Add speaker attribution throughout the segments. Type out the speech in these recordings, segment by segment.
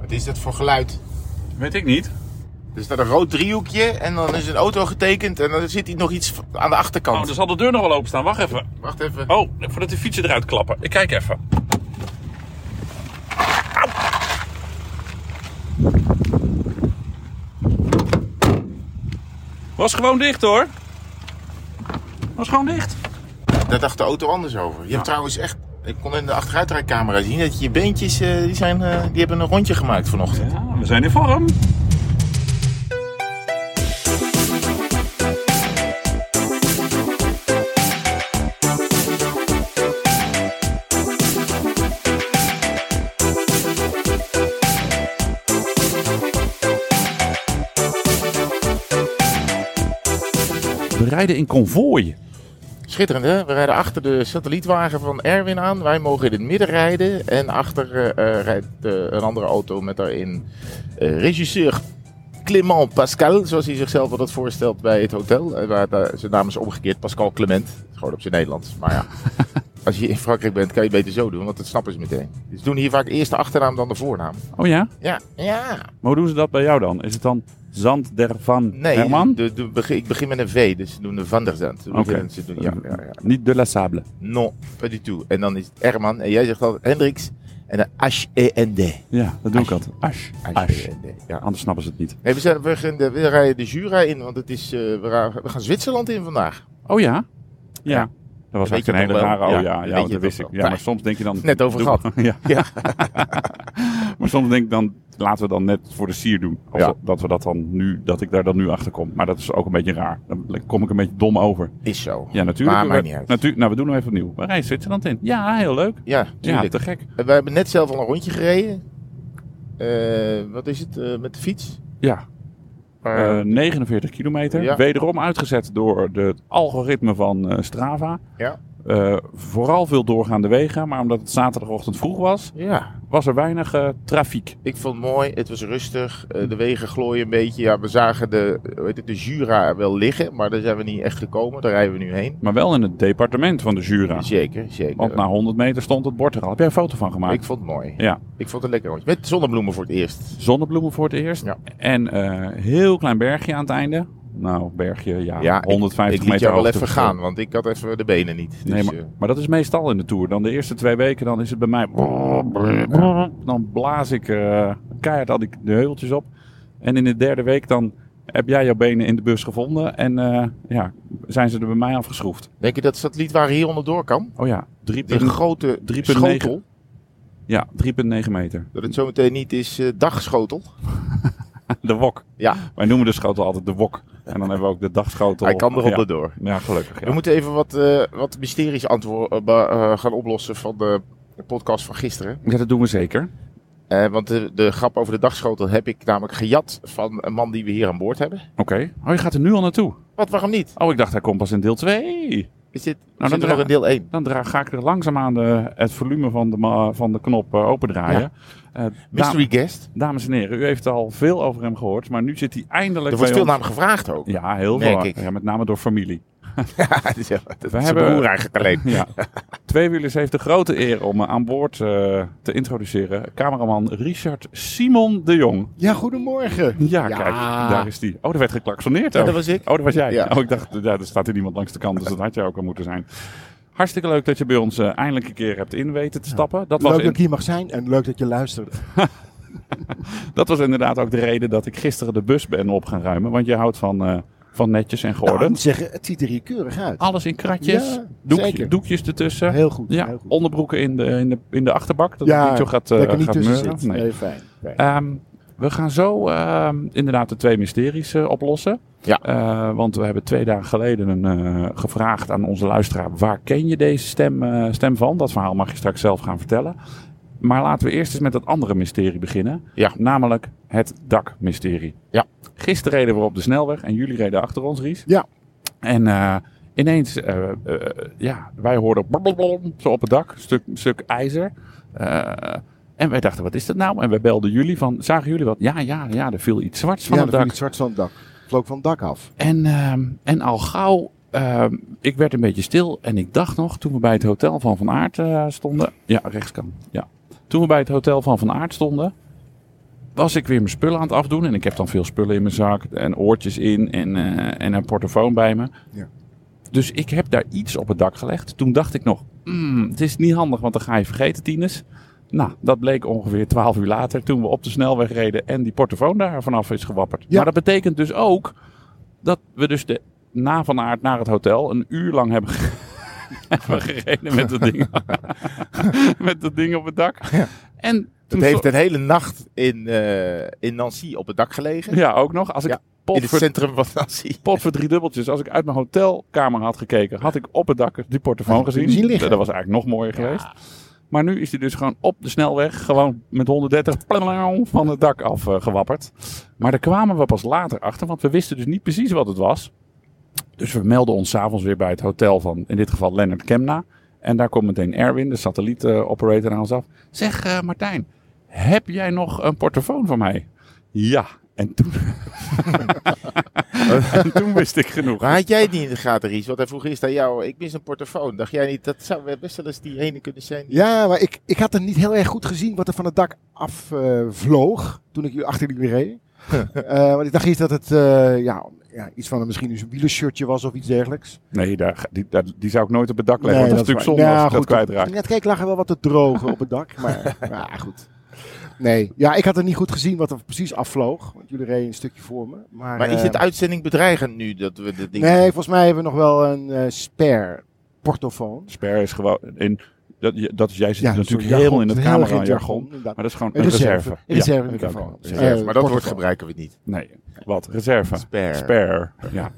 Speaker 1: Wat is dat voor geluid?
Speaker 2: Weet ik niet. Oh,
Speaker 1: Er staat een rood driehoekje en dan is een auto getekend en dan zit hier nog iets aan de achterkant.
Speaker 2: Oh, er zal de deur nog wel openstaan. Wacht even.
Speaker 1: Wacht even.
Speaker 2: Oh, voordat de fietsen eruit klappen. Ik kijk even. Auw. Was gewoon dicht hoor. Was gewoon dicht.
Speaker 1: Daar dacht de auto anders over. Je hebt trouwens echt... Ik kon in de achteruitrijcamera zien dat je beentjes, eh, die, zijn, eh, die hebben een rondje gemaakt vanochtend.
Speaker 2: Ja, we zijn in vorm. We rijden in konvooi.
Speaker 1: Schitterend hè? We rijden achter de satellietwagen van Erwin aan. Wij mogen in het midden rijden. En achter eh, eh, rijdt eh, een andere auto met daarin eh, regisseur Clément Pascal. Zoals hij zichzelf altijd voorstelt bij het hotel. Eh, waar, daar- zijn naam is omgekeerd Pascal Clement. Gewoon op zijn Nederlands. Maar ja, als je in Frankrijk bent kan je het beter zo doen. Want dat snappen ze meteen. Dus doen hier vaak eerst de achternaam dan de voornaam.
Speaker 2: Oh ja?
Speaker 1: Ja, ja.
Speaker 2: Maar hoe doen ze dat bij jou dan? Is het dan Zand der Van
Speaker 1: Nee,
Speaker 2: Herman?
Speaker 1: de- de- begin- ik begin met een V. Dus ze doen de Van der Zandt. Ze beginnen- ze doen- Ja, ja, ja.
Speaker 2: Niet de La Sable.
Speaker 1: Non, pas du tout. En dan is het Herman. En jij zegt altijd Hendricks. En dan E H-E-N-D.
Speaker 2: Ja, dat doe ik altijd. Ash.
Speaker 1: E
Speaker 2: Ash.
Speaker 1: H-E-N-D, Ja.
Speaker 2: Anders snappen ze het niet.
Speaker 1: Nee, we, zijn, we, gaan de, we rijden de Jura in, want het is, eh, we, ra- we gaan Zwitserland in vandaag.
Speaker 2: Oh ja? Ja.
Speaker 1: Ja.
Speaker 2: Dat was
Speaker 1: weet
Speaker 2: echt een
Speaker 1: je
Speaker 2: hele
Speaker 1: toch wel?
Speaker 2: rare... Oh ja,
Speaker 1: Ja,
Speaker 2: ja,
Speaker 1: weet
Speaker 2: want
Speaker 1: je
Speaker 2: dat
Speaker 1: toch
Speaker 2: wist ik.
Speaker 1: wel.
Speaker 2: Ja, maar
Speaker 1: Nou,
Speaker 2: soms denk je dan...
Speaker 1: Net over
Speaker 2: doe- ja.
Speaker 1: Ja.
Speaker 2: Maar soms denk ik dan... Laten we dan net voor de sier doen. Of
Speaker 1: Ja.
Speaker 2: dat- dat, we dat, dan nu, dat ik daar dan nu achter kom. Maar dat is ook een beetje raar. Dan kom ik een beetje dom over.
Speaker 1: Is zo.
Speaker 2: Ja, natuurlijk.
Speaker 1: Maar
Speaker 2: We-
Speaker 1: maakt niet uit.
Speaker 2: Natuur, nou, we doen nog even opnieuw. Waar rijdt Zwitserland in? Ja, heel leuk.
Speaker 1: Ja,
Speaker 2: Ja,
Speaker 1: tuurlijk.
Speaker 2: te gek.
Speaker 1: we hebben net zelf al een rondje gereden. Eh, wat is het? eh, met de fiets?
Speaker 2: Ja,
Speaker 1: Maar-
Speaker 2: eh, 49 kilometer.
Speaker 1: Ja.
Speaker 2: Wederom uitgezet door de- het algoritme van eh, Strava.
Speaker 1: ja.
Speaker 2: Eh, vooral veel doorgaande wegen, maar omdat het zaterdagochtend vroeg was,
Speaker 1: ja,
Speaker 2: was er weinig eh, trafiek.
Speaker 1: ik vond het mooi. Het was rustig. eh, de wegen glooien een beetje. Ja, we zagen de, hoe heet het, de Jura wel liggen, maar daar zijn we niet echt gekomen. Daar rijden we nu heen.
Speaker 2: Maar wel in het departement van de Jura.
Speaker 1: Zeker, zeker.
Speaker 2: Want na 100 meter stond het bord er al. Heb jij een foto van gemaakt?
Speaker 1: Ik vond het mooi.
Speaker 2: Ja,
Speaker 1: Ik vond het een lekker rondje. Met zonnebloemen voor het eerst.
Speaker 2: zonnebloemen voor het eerst.
Speaker 1: Ja.
Speaker 2: En eh heel klein bergje aan het einde. Nou, bergje, ja,
Speaker 1: Ja, ik-
Speaker 2: 150
Speaker 1: ik liet
Speaker 2: meter
Speaker 1: jou wel
Speaker 2: hoogte
Speaker 1: even
Speaker 2: verschil.
Speaker 1: gaan, want ik had even de benen niet. Dus,
Speaker 2: Nee, maar,
Speaker 1: eh,
Speaker 2: maar dat is meestal in de Tour. Dan de eerste twee weken, dan is het bij mij... Dan blaas ik eh keihard al die de heuveltjes op. En in de derde week dan heb jij jouw benen in de bus gevonden. En eh, ja, zijn ze er bij mij afgeschroefd.
Speaker 1: denk je dat satellietwagen hier onderdoor kan?
Speaker 2: Oh ja, 3,9
Speaker 1: Die grote
Speaker 2: 3,9.
Speaker 1: schotel.
Speaker 2: ja, 3,9 meter.
Speaker 1: Dat het zometeen niet is eh, dagschotel.
Speaker 2: De wok.
Speaker 1: Ja,
Speaker 2: Wij noemen de schotel altijd de wok. En dan hebben we ook de dagschotel.
Speaker 1: hij kan er
Speaker 2: ja.
Speaker 1: onderdoor.
Speaker 2: Ja, gelukkig.
Speaker 1: We
Speaker 2: Ja.
Speaker 1: moeten even wat, eh, wat mysteries antwoord, eh, ba- eh, gaan oplossen van de, de podcast van gisteren.
Speaker 2: Ja, dat doen we zeker.
Speaker 1: Eh, want de, de grap over de dagschotel heb ik namelijk gejat van een man die we hier aan boord hebben.
Speaker 2: Oké. Oh, je gaat er nu al naartoe.
Speaker 1: Wat, waarom niet?
Speaker 2: Oh, ik dacht hij komt pas in deel 2.
Speaker 1: Is dit,
Speaker 2: dan
Speaker 1: zit er
Speaker 2: dra-
Speaker 1: nog in deel 1?
Speaker 2: Dan dra- ga ik er langzaam aan de, het volume van de, ma- van de knop eh, opendraaien. Eh, da-
Speaker 1: Mystery guest.
Speaker 2: dames en heren, u heeft al veel over hem gehoord, maar nu zit hij eindelijk
Speaker 1: Er wordt veel
Speaker 2: bij ons.
Speaker 1: naar hem gevraagd ook.
Speaker 2: Ja, heel
Speaker 1: Merk
Speaker 2: veel.
Speaker 1: ik.
Speaker 2: Ja, met name door familie.
Speaker 1: dat is, dat is
Speaker 2: hebben-
Speaker 1: zijn broer eigenlijk alleen.
Speaker 2: Ja. Tweewielers heeft de grote eer om eh, aan boord eh, te introduceren. Cameraman Richard Simon de Jong.
Speaker 1: Ja, goedemorgen.
Speaker 2: Ja,
Speaker 1: Ja.
Speaker 2: kijk, daar is die. Oh, er werd geklaksoneerd
Speaker 1: Ja,
Speaker 2: ook.
Speaker 1: dat was ik.
Speaker 2: Oh, dat was jij.
Speaker 1: Ja.
Speaker 2: Oh, ik dacht, ja, er staat hier niemand langs de kant, dus dat had jij ook al moeten zijn. Hartstikke leuk dat je bij ons eh, eindelijk een keer hebt in weten te stappen. Dat was
Speaker 3: leuk
Speaker 2: in-
Speaker 3: dat ik hier mag zijn en leuk dat je luistert.
Speaker 2: Dat was inderdaad ook de reden dat ik gisteren de bus ben op gaan ruimen. Want je houdt van, eh, van netjes en
Speaker 3: Nou, ik moet
Speaker 2: geordend.
Speaker 3: zeggen, het ziet er hier keurig uit.
Speaker 2: Alles in kratjes,
Speaker 3: Ja,
Speaker 2: doekje-
Speaker 3: zeker.
Speaker 2: doekjes ertussen.
Speaker 3: Heel goed.
Speaker 2: Ah, ja,
Speaker 3: heel goed.
Speaker 2: onderbroeken in de, in, de, in de achterbak. Dat
Speaker 3: Ja,
Speaker 2: het niet zo gaat, eh,
Speaker 3: dat ik er niet
Speaker 2: gaat
Speaker 3: tussen
Speaker 2: meuren.
Speaker 3: zit.
Speaker 2: Nee.
Speaker 3: Nee, fijn. fijn.
Speaker 2: Ehm, we gaan zo ehm, inderdaad de twee mysteries eh, oplossen.
Speaker 1: Ja.
Speaker 2: Eh, want we hebben twee dagen geleden een, eh, gevraagd aan onze luisteraar... waar ken je deze stem, eh, stem van? Dat verhaal mag je straks zelf gaan vertellen. Maar laten we eerst eens met dat andere mysterie beginnen.
Speaker 1: Ja.
Speaker 2: Namelijk het dakmysterie.
Speaker 1: Ja.
Speaker 2: Gisteren reden we op de snelweg en jullie reden achter ons, Ries.
Speaker 3: Ja.
Speaker 2: En eh, ineens, eh, eh, ja, wij hoorden blablabla, zo op het dak, stuk, stuk ijzer. Eh, en wij dachten, wat is dat nou? En wij belden jullie van, zagen jullie wat? Ja, ja, ja, er viel iets zwarts van
Speaker 3: ja,
Speaker 2: het
Speaker 3: dan
Speaker 2: dak.
Speaker 3: viel iets zwart van het dak. Vloog van het dak af.
Speaker 2: En, ehm, en al gauw, ehm, ik werd een beetje stil. En ik dacht nog, toen we bij het hotel van Van Aert eh, stonden. Ja, rechtskant. Ja. Toen we bij het hotel van Van Aert stonden. was ik weer mijn spullen aan het afdoen. En ik heb dan veel spullen in mijn zak. En oortjes in en, eh, en een portofoon bij me.
Speaker 3: Ja.
Speaker 2: Dus ik heb daar iets op het dak gelegd. Toen dacht ik nog, "Mm, het is niet handig, want dan ga je vergeten, Tines. Nou, dat bleek ongeveer 12 uur later toen we op de snelweg reden en die portofoon daar vanaf is gewapperd.
Speaker 3: Ja.
Speaker 2: Maar dat betekent dus ook dat we dus de na van aard naar het hotel een uur lang hebben, ge- hebben gereden met dat ding, met dat ding op het dak. En
Speaker 1: Het
Speaker 2: toen
Speaker 1: heeft
Speaker 2: sto-
Speaker 1: een hele nacht in, eh, in Nancy op het dak gelegen.
Speaker 2: ja, ook nog, als ik
Speaker 1: Ja,
Speaker 2: pot
Speaker 1: in het
Speaker 2: voor
Speaker 1: centrum van Nancy.
Speaker 2: pot voor drie dubbeltjes. Als ik uit mijn hotelkamer had gekeken, had ik op het dak die portofoon
Speaker 3: Had je
Speaker 2: gezien.
Speaker 3: hem zien liggen.
Speaker 2: Dat was eigenlijk nog mooier geweest. Maar nu is die dus gewoon op de snelweg, gewoon met 130 plauw van het dak af eh, gewapperd. Maar daar kwamen we pas later achter, want we wisten dus niet precies wat het was. Dus we melden ons s'avonds weer bij het hotel van, in dit geval Lennart Kemna. En daar komt meteen Erwin, de satellietoperator, aan ons af. Zeg eh, Martijn, heb jij nog een portofoon van mij? Ja. En toen, en toen wist ik genoeg.
Speaker 1: Maar had jij die in de gaten, Ries? Want hij vroeg eerst aan jou, ik mis een portofoon. Dacht jij niet, dat zou best wel eens die ene kunnen zijn? die-
Speaker 3: Ja, maar ik, ik had er niet heel erg goed gezien wat er van het dak af eh, vloog toen ik jullie achter jullie reed. Eh, want ik dacht eerst dat het eh, ja, ja, iets van een, misschien eens een wielershirtje was of iets dergelijks.
Speaker 2: Nee, daar, ga- die, daar- die zou ik nooit op het dak leggen. want dat is natuurlijk zonde
Speaker 3: Ja,
Speaker 2: als ik
Speaker 3: goed,
Speaker 2: dat kwijtraak.
Speaker 3: Toen ik net keek lag er wel wat te drogen op het dak, maar ja, goed. Nee, ja, ik had er niet goed gezien wat er precies afvloog. Want jullie reden een stukje voor me. Maar,
Speaker 1: Maar is
Speaker 3: eh,
Speaker 1: het uitzending bedreigend nu dat we dit ding...
Speaker 3: Nee, volgens mij hebben we nog wel een eh, spare portofoon.
Speaker 2: Sper is gewoon... In, dat, je- dat, is- jij zit
Speaker 3: dat is
Speaker 2: natuurlijk
Speaker 3: zo'n
Speaker 2: heel
Speaker 3: jargon,
Speaker 2: in het
Speaker 3: heel erg in
Speaker 2: camera jargon.
Speaker 3: inderdaad.
Speaker 2: Maar dat is gewoon een
Speaker 3: Een
Speaker 2: reserve.
Speaker 3: reserve. Een reserve
Speaker 2: Ja,
Speaker 3: microfoon.
Speaker 2: oké,
Speaker 3: Eh,
Speaker 2: oké.
Speaker 1: Reserve, maar dat woord
Speaker 3: portofoon.
Speaker 1: gebruiken we niet.
Speaker 2: Nee, wat? Reserve.
Speaker 1: Spare.
Speaker 2: Spare, ja.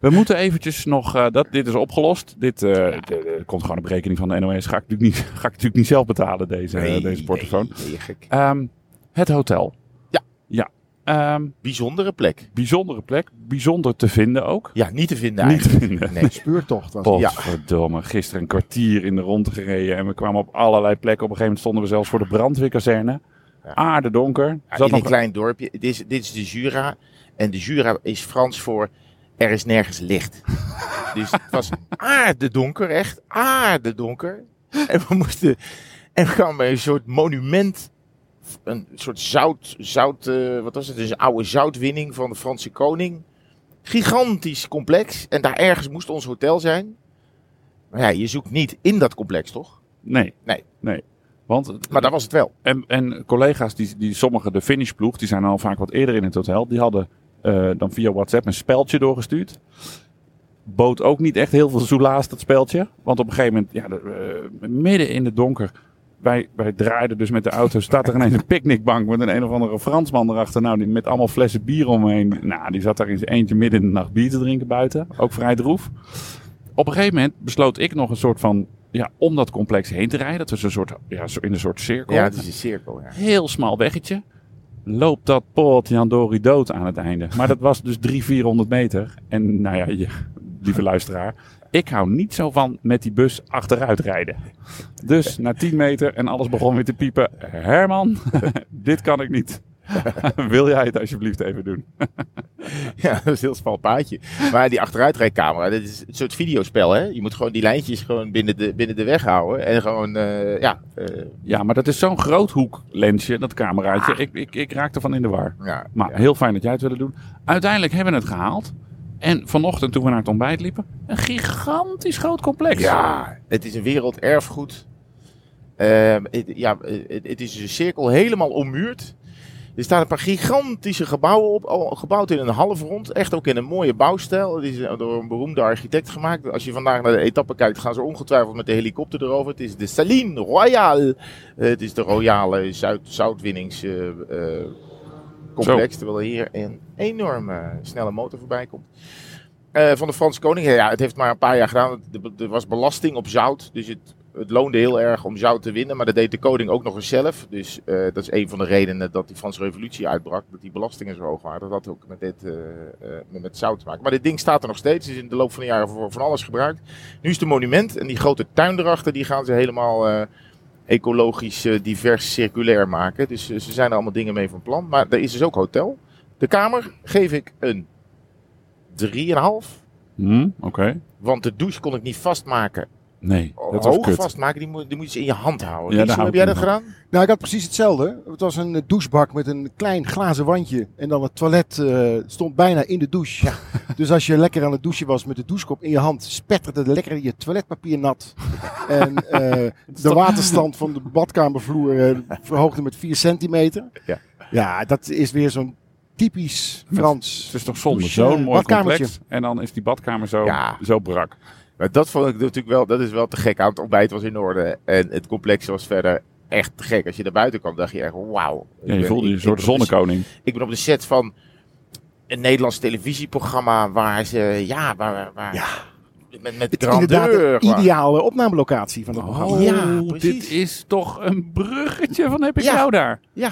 Speaker 2: We moeten eventjes nog... eh, dat, dit is opgelost. Dit eh, d- eh, komt gewoon op rekening van de NOS. Ga ik natuurlijk niet, ga ik natuurlijk niet zelf betalen, deze, eh,
Speaker 1: Nee,
Speaker 2: deze portofoon.
Speaker 1: nee, nee, gek.
Speaker 2: Ehm, het hotel.
Speaker 1: Ja.
Speaker 2: Ja. Ehm,
Speaker 1: Bijzondere plek.
Speaker 2: bijzondere plek. Bijzonder te vinden ook.
Speaker 1: Ja, niet te vinden
Speaker 2: niet te
Speaker 1: eigenlijk.
Speaker 2: vinden.
Speaker 1: Nee.
Speaker 3: Speurtocht was het.
Speaker 2: Potverdomme, gisteren een kwartier in de rond gereden en we kwamen op allerlei plekken. Op een gegeven moment stonden we zelfs voor de brandweerkazerne.
Speaker 1: Ja.
Speaker 2: Aardedonker.
Speaker 1: Ja,
Speaker 2: Zat
Speaker 1: in een
Speaker 2: nog-
Speaker 1: klein dorpje. Dit is, dit is de Jura. En de Jura is Frans voor er is nergens licht. dus het was aardedonker, echt aardedonker. En we moesten. En we kwamen bij een soort monument. Een soort zout. zout eh, wat was het? Dus een oude zoutwinning van de Franse koning. Gigantisch complex. En daar ergens moest ons hotel zijn. Maar ja, je zoekt niet in dat complex, toch?
Speaker 2: Nee.
Speaker 1: Nee.
Speaker 2: Nee. Want,
Speaker 1: Maar daar was het wel.
Speaker 2: en, en collega's, die, die sommigen, de finishploeg, die zijn al vaak wat eerder in het hotel. Die hadden eh, dan via WhatsApp een speltje doorgestuurd. Bood ook niet echt heel veel soelaas, dat speltje. Want op een gegeven moment, ja, de- eh, midden in het donker, wij, wij draaiden dus met de auto. Staat er ineens een picknickbank met een een of andere Fransman erachter. Nou, die met allemaal flessen bier omheen. Nou, die zat daar in zijn eentje midden in de nacht bier te drinken buiten. Ook vrij droef. Op een gegeven moment besloot ik nog een soort van. Ja, om dat complex heen te rijden. Dat was een soort, ja, zo in een soort cirkel.
Speaker 1: Ja, het is een cirkel. Ja.
Speaker 2: Heel smal weggetje. Loopt dat pot Jan Dori dood aan het einde. Maar dat was dus 300, 400 meter. En nou ja, je, lieve luisteraar. Ik hou niet zo van met die bus achteruit rijden. Dus na 10 meter en alles begon weer te piepen. Herman, dit kan ik niet. Wil jij het alsjeblieft even doen?
Speaker 1: Ja, dat is een heel smal paadje. Maar die achteruitrijcamera, dat is een soort videospel, hè? Je moet gewoon die lijntjes gewoon binnen de, binnen de weg houden. En gewoon, eh, ja, eh,
Speaker 2: Ja, maar dat is zo'n groothoeklensje, dat cameraatje. Ik, ik, ik raakte van in de war.
Speaker 1: ja.
Speaker 2: Maar heel fijn dat jij het wilde doen. Uiteindelijk hebben we het gehaald. En vanochtend toen we naar het ontbijt liepen, een gigantisch groot complex.
Speaker 1: Ja, het is een werelderfgoed. Ehm, het, ja, het, het is een cirkel helemaal ommuurd. Er staan een paar gigantische gebouwen op, al gebouwd in een half rond. Echt ook in een mooie bouwstijl. Het is door een beroemde architect gemaakt. Als je vandaag naar de etappe kijkt, gaan ze ongetwijfeld met de helikopter erover. Het is de Saline Royale. Eh, het is de royale zuid, zoutwinningscomplex. terwijl er hier een enorme snelle motor voorbij komt. Eh, van de Franse koning. Ja, het heeft maar een paar jaar gedaan. Er- Er was belasting op zout. Dus het, het loonde heel erg om zout te winnen. Maar dat deed de koning ook nog eens zelf. Dus eh, dat is een van de redenen dat die Franse revolutie uitbrak. Dat die belastingen zo hoog waren. Dat had ook met, dit, eh, eh, met- met zout te maken. Maar dit ding staat er nog steeds. Is in de loop van de jaren voor van alles gebruikt. Nu is het een monument. En die grote tuin erachter, die gaan ze helemaal... eh, Ecologisch, eh, divers, circulair maken. Dus eh, ze zijn er allemaal dingen mee van plan. Maar er is dus ook hotel. De kamer geef ik een 3,5.
Speaker 2: Hm, Oké. Hm?
Speaker 1: Want de douche kon ik niet vastmaken.
Speaker 2: Nee, dat was
Speaker 1: hoog
Speaker 2: kut.
Speaker 1: vastmaken, die moet, die moet je in je hand houden.
Speaker 2: Ja,
Speaker 1: Kiesel,
Speaker 2: daar
Speaker 1: heb
Speaker 2: hou
Speaker 1: jij
Speaker 2: ik
Speaker 1: dat
Speaker 2: niet
Speaker 1: gedaan?
Speaker 3: Nou, ik had precies hetzelfde. Het was een eh, douchebak met een klein glazen wandje. En dan het toilet eh, stond bijna in de douche. Dus als je lekker aan het douchen was met de douchekop in je hand, spetterde lekker je toiletpapier nat. en eh, de waterstand van de badkamervloer eh, verhoogde met 4 centimeter.
Speaker 1: Ja.
Speaker 3: ja, dat is weer zo'n typisch
Speaker 2: Met-
Speaker 3: Frans.
Speaker 2: Het is toch zonde,
Speaker 3: Douche,
Speaker 2: zo'n
Speaker 3: eh,
Speaker 2: mooi
Speaker 3: badkamertje.
Speaker 2: complex. En dan is die badkamer zo,
Speaker 1: Dus, Ja.
Speaker 2: zo brak.
Speaker 1: Maar dat vond ik natuurlijk wel, dat is wel te gek aan. Het ontbijt was in orde en het complex was verder echt te gek. Als je naar buiten kwam, dacht je echt, wauw.
Speaker 2: Ja,
Speaker 1: Ik
Speaker 2: je
Speaker 1: ben-
Speaker 2: voelde je een
Speaker 1: ik-
Speaker 2: soort
Speaker 1: ik ben op de-
Speaker 2: zonnekoning.
Speaker 1: Ik ben op de set van een Nederlands televisieprogramma waar ze, ja, waar, waar
Speaker 3: Ja.
Speaker 1: met, met
Speaker 3: Het is inderdaad de
Speaker 1: grandeur. Oh. gewoon.
Speaker 3: ideale opnamelocatie van het programma.
Speaker 1: ja, precies.
Speaker 2: Oh, dit is toch een bruggetje van heb ik
Speaker 1: Ja.
Speaker 2: jou daar.
Speaker 1: Ja,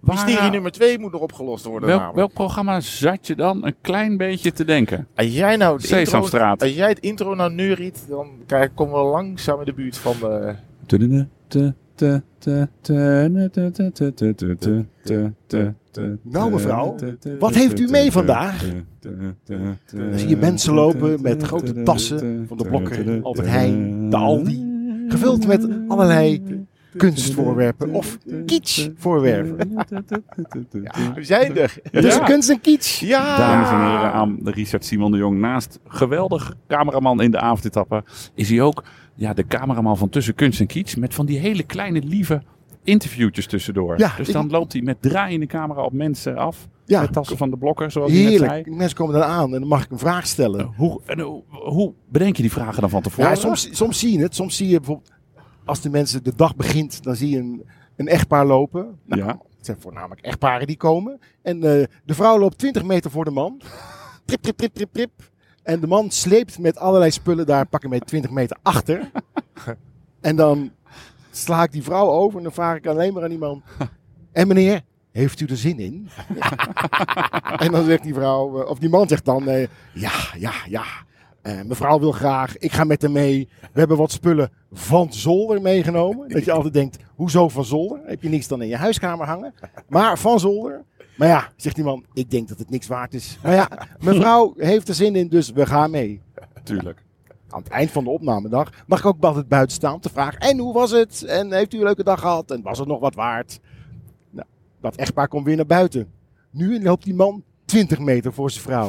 Speaker 2: Waar-
Speaker 1: mysterie nummer twee moet nog opgelost worden
Speaker 2: welk,
Speaker 1: namelijk.
Speaker 2: welk programma zat je dan een klein beetje te denken?
Speaker 1: Als jij nou het intro,
Speaker 2: Sesamstraat.
Speaker 1: als jij het intro nou neuriet, dan krijg- komen we langzaam in de buurt van de...
Speaker 3: Nou, mevrouw, wat heeft u mee vandaag? Dan zie je mensen lopen met grote tassen van de Blokker, Albert Heijn, de Aldi. Gevuld met allerlei kunstvoorwerpen of kitschvoorwerpen.
Speaker 1: Ja, we zijn er.
Speaker 3: Het is kunst en kitsch.
Speaker 1: Ja!
Speaker 2: Dames en heren, aan Richard Simon de Jong. Naast geweldig cameraman in de avondetappen is hij ook ja, de cameraman van Tussen Kunst en Kiets. Met van die hele kleine, lieve interviewtjes tussendoor.
Speaker 3: Ja,
Speaker 2: dus
Speaker 3: ik-
Speaker 2: dan loopt hij met draaiende camera op mensen af.
Speaker 3: Ja,
Speaker 2: met tassen van de blokker, zoals hij net
Speaker 3: heerlijk.
Speaker 2: zei. Oh.
Speaker 3: Die mensen komen dan aan en dan mag ik een vraag stellen.
Speaker 2: Hoe, en, hoe, hoe bedenk je die vragen dan van tevoren?
Speaker 3: Ja, soms, soms zie je het. Soms zie je bijvoorbeeld, als de mensen de dag begint, dan zie je een, een echtpaar lopen. Nou,
Speaker 2: Ja.
Speaker 3: Het zijn voornamelijk echtparen die komen. En eh, de vrouw loopt 20 meter voor de man. Trip, trip, trip, trip, trip. En de man sleept met allerlei spullen daar, pak hem mee 20 meter achter. En dan sla ik die vrouw over en dan vraag ik alleen maar aan die man. En meneer, heeft u er zin in? en dan zegt die vrouw, eh, of die man zegt dan, eh, ja, ja, ja. Eh, mevrouw wil graag, ik ga met haar mee. We hebben wat spullen van zolder meegenomen. Dat je altijd denkt, hoezo van zolder? Heb je niks dan in je huiskamer hangen? Maar van zolder. Maar ja, zegt die man, ik denk dat het niks waard is. Maar ja, mevrouw heeft er zin in, dus we gaan mee.
Speaker 2: tuurlijk.
Speaker 3: Aan het eind van de opnamedag mag ik ook altijd buiten staan om te vragen. En hoe was het? En heeft u een leuke dag gehad? En was het nog wat waard? Nou, dat echtpaar komt weer naar buiten. Nu loopt die man 20 meter voor zijn vrouw.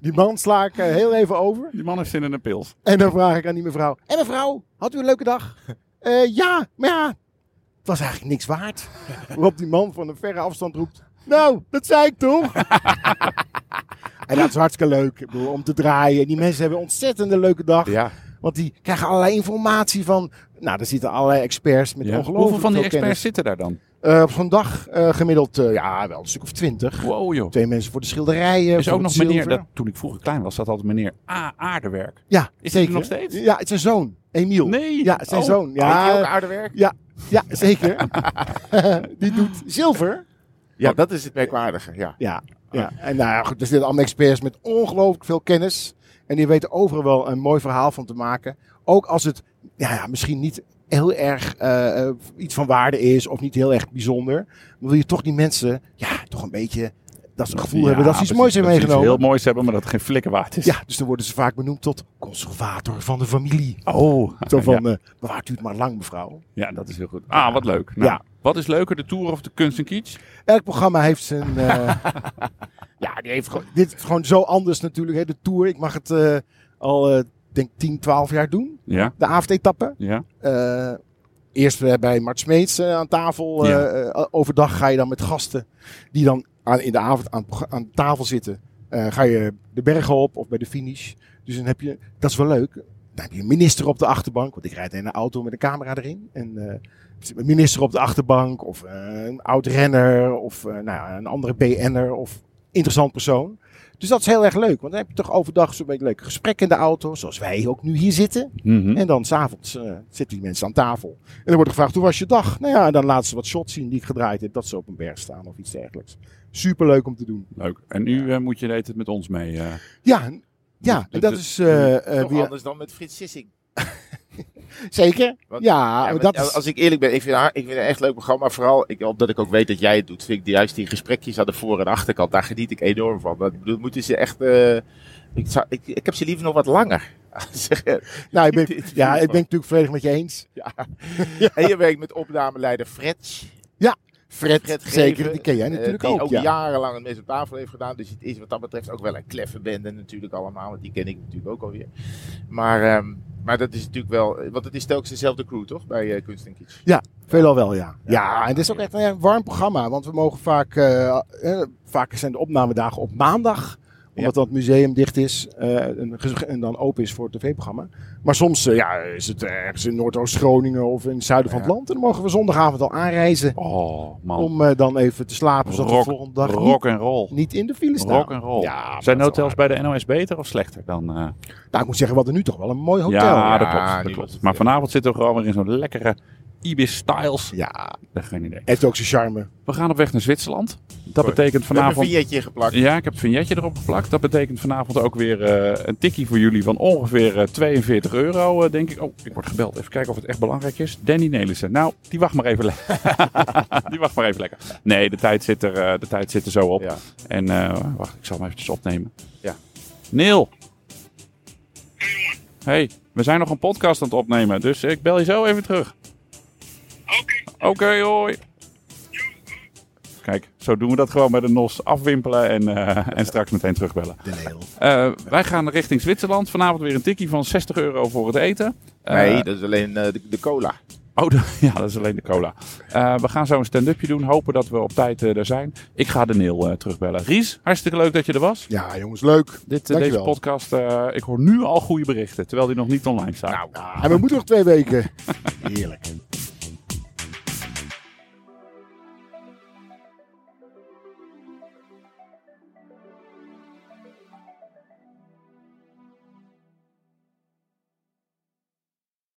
Speaker 3: die man sla ik eh, heel even over.
Speaker 2: Die man heeft zin in een pils.
Speaker 3: En dan vraag ik aan die mevrouw. En mevrouw, had u een leuke dag? "Eh, ja, maar ja, het was eigenlijk niks waard. Waarop die man van een verre afstand roept. Nou, dat zei ik toch? en dat is hartstikke leuk ik bedoel, om te draaien. Die mensen hebben een ontzettende leuke dag.
Speaker 1: Ja.
Speaker 3: Want die krijgen allerlei informatie van... Nou, er zitten allerlei experts met
Speaker 2: Ja.
Speaker 3: ongelooflijk
Speaker 2: Hoeveel van die
Speaker 3: veel
Speaker 2: experts
Speaker 3: kennis.
Speaker 2: zitten daar dan?
Speaker 3: Eh, op zo'n dag eh, gemiddeld, eh, ja, wel een stuk of twintig.
Speaker 2: Wow joh.
Speaker 3: Twee mensen voor de schilderijen.
Speaker 2: is
Speaker 3: voor
Speaker 2: ook nog
Speaker 3: het
Speaker 2: meneer,
Speaker 3: zilver.
Speaker 2: dat, toen ik vroeger klein was, zat altijd meneer A. Aardewerk.
Speaker 3: Ja,
Speaker 2: Is hij er
Speaker 3: zeker.
Speaker 2: nog steeds?
Speaker 3: Ja, het is zijn zoon, Emiel.
Speaker 2: Nee.
Speaker 3: Ja, zijn
Speaker 2: Oh.
Speaker 3: zoon.
Speaker 1: Ja.
Speaker 3: Ja,
Speaker 1: ook aardig werk?
Speaker 3: Ja, zeker. die doet zilver.
Speaker 1: Ja, dat is het merkwaardige, ja.
Speaker 3: Ja. ja. En nou ja, goed, er zitten allemaal experts met ongelooflijk veel kennis. En die weten overal wel een mooi verhaal van te maken. Ook als het ja, ja, misschien niet heel erg eh, eh, iets van waarde is of niet heel erg bijzonder. Dan wil je toch die mensen ja, toch een beetje dat ze het gevoel
Speaker 2: Ja,
Speaker 3: hebben dat ze iets
Speaker 2: precies,
Speaker 3: moois hebben
Speaker 2: dat ze iets
Speaker 3: meegenomen.
Speaker 2: heel moois hebben, maar dat het geen flikker waard is.
Speaker 3: Ja, dus dan worden ze vaak benoemd tot conservator van de familie.
Speaker 2: Oh.
Speaker 3: Zo
Speaker 2: ja.
Speaker 3: van, eh bewaart u het maar lang mevrouw.
Speaker 2: ja, dat is heel goed. Ah, wat leuk. Nou,
Speaker 3: Ja.
Speaker 2: Wat is leuker, de Tour of de Kunst en Kitsch?
Speaker 3: Elk programma heeft zijn. eh, ja, die heeft gewoon, dit is gewoon zo anders natuurlijk. Hè. De tour, ik mag het eh, al, eh, denk 10, 12 jaar doen.
Speaker 2: Ja,
Speaker 3: De avondetappe.
Speaker 2: ja.
Speaker 3: Eh eerst eh, bij Mart Smeets eh, aan tafel. eh,
Speaker 2: Ja.
Speaker 3: eh, overdag ga je dan met gasten die dan aan, in de avond aan, aan tafel zitten. eh, ga je de bergen op of bij de finish. Dus dan heb je, dat is wel leuk. Dan heb je een minister op de achterbank. Want ik rijd in een auto met een camera erin. En eh, er zit een minister op de achterbank. Of eh, een oud renner. Of eh, nou, ja, een andere BN'er. Of interessant persoon. Dus dat is heel erg leuk. Want dan heb je toch overdag zo'n beetje leuke gesprekken in de auto. Zoals wij ook nu hier zitten.
Speaker 2: Mhm.
Speaker 3: En dan s'avonds eh zitten die mensen aan tafel. En dan wordt gevraagd, hoe was je dag? Nou ja, en dan laten ze wat shots zien die ik gedraaid heb. Dat ze op een berg staan of iets dergelijks. Superleuk om te doen.
Speaker 2: Leuk. En nu eh, moet je de hele tijd met ons mee. eh.
Speaker 3: Ja, en- ja
Speaker 2: Dus-
Speaker 3: en dat
Speaker 2: dus-
Speaker 3: is eh, eh,
Speaker 1: Toch
Speaker 3: weer...
Speaker 1: anders dan met Frits Sissing.
Speaker 3: Zeker?
Speaker 1: Want-
Speaker 3: ja,
Speaker 1: Ja,
Speaker 3: maar
Speaker 1: want
Speaker 3: dat is...
Speaker 1: Als ik eerlijk ben, ik vind, haar, ik vind het een echt leuk programma. Vooral ik, omdat ik ook weet dat jij het doet, vind ik die- juist die gesprekjes aan de voor- en achterkant, daar geniet ik enorm van. Dat, dat moeten ze echt... eh, ik, zou- ik, ik heb ze liever nog wat langer. Zeg, eh,
Speaker 3: Nou, ik ben,
Speaker 1: Dit is
Speaker 3: ja, ik ben
Speaker 1: hiervan.
Speaker 3: natuurlijk volledig met je eens.
Speaker 1: ja. En je werkt met opnameleider Frets.
Speaker 3: Fred,
Speaker 1: Fred
Speaker 3: zeker.
Speaker 1: Geven,
Speaker 3: Die ken jij
Speaker 1: eh,
Speaker 3: natuurlijk
Speaker 1: die
Speaker 3: ook. ja.
Speaker 1: jarenlang het mes op tafel heeft gedaan. Dus het is wat dat betreft ook wel een kleffe bende natuurlijk allemaal. Want die ken ik natuurlijk ook alweer. Maar, ehm, maar dat is natuurlijk wel... Want het is telkens dezelfde crew, toch? Bij eh Kunst en Kitsch.
Speaker 3: Veelal wel, ja.
Speaker 1: Ja.
Speaker 3: Ja, en het is ook echt een warm programma. Want we mogen vaak... eh, eh, vaak zijn de opnamedagen op maandag. Omdat dan het museum dicht is. eh, en, ge- en dan open is voor het tv-programma. Maar soms eh, ja, is het ergens in Noordoost-Groningen of in het zuiden van het
Speaker 1: Ja.
Speaker 3: land. En dan mogen we zondagavond al aanreizen.
Speaker 2: Oh, man.
Speaker 3: Om eh, dan even te slapen. Zodat
Speaker 2: Rock-
Speaker 3: we de volgende dag niet-
Speaker 2: rock en roll.
Speaker 3: niet, in de file staan.
Speaker 2: Rock en roll.
Speaker 3: Ja,
Speaker 2: Zijn
Speaker 3: dat is
Speaker 2: hotels bij de NOS beter of slechter dan... eh,
Speaker 3: Nou, ik moet zeggen, we hadden nu toch wel een mooi hotel.
Speaker 2: Ja, dat
Speaker 1: Ja,
Speaker 2: klopt.
Speaker 1: die was het,
Speaker 2: Dat klopt. Maar
Speaker 1: ja.
Speaker 2: vanavond zitten we gewoon weer in zo'n lekkere Ibis Styles.
Speaker 3: ja.
Speaker 2: Dat geen idee.
Speaker 3: Heeft ook zijn charme.
Speaker 2: We gaan op weg naar Zwitserland. Dat betekent
Speaker 1: We hebben een
Speaker 2: vanavond...
Speaker 1: vignetje geplakt.
Speaker 2: Ja, ik heb het vignetje erop geplakt. Dat betekent vanavond ook weer eh, een tikkie voor jullie van ongeveer eh, 42 euro, eh, denk ik. Oh, ik word gebeld. Even kijken of het echt belangrijk is. Danny Nelissen. Nou, die wacht maar even lekker. die wacht maar even lekker. Nee, de tijd zit er, eh, de tijd zit er zo op.
Speaker 1: Ja.
Speaker 2: En eh, wacht, ik zal hem eventjes opnemen.
Speaker 1: Ja.
Speaker 2: Neil. Hey, we zijn nog een podcast aan het opnemen, dus ik bel je zo even terug. Oké. Oké, hoi. Kijk, zo doen we dat gewoon bij de NOS. Afwimpelen en, eh, en straks meteen terugbellen.
Speaker 3: De Neel.
Speaker 2: Eh, wij gaan richting Zwitserland. Vanavond weer een tikkie van 60 euro voor het eten. Eh,
Speaker 1: Nee, dat is alleen eh, de, de cola.
Speaker 2: Oh, de- ja, dat is alleen de cola. Eh, we gaan zo een stand-upje doen. Hopen dat we op tijd eh, er zijn. Ik ga de Neil eh, terugbellen. Ries, hartstikke leuk dat je er was.
Speaker 3: Ja, jongens, leuk.
Speaker 2: Dit, eh,
Speaker 3: Dankjewel.
Speaker 2: deze podcast, eh, ik hoor nu al goede berichten, terwijl die nog niet online staat.
Speaker 3: Nou, en we moeten nog twee weken. Heerlijk.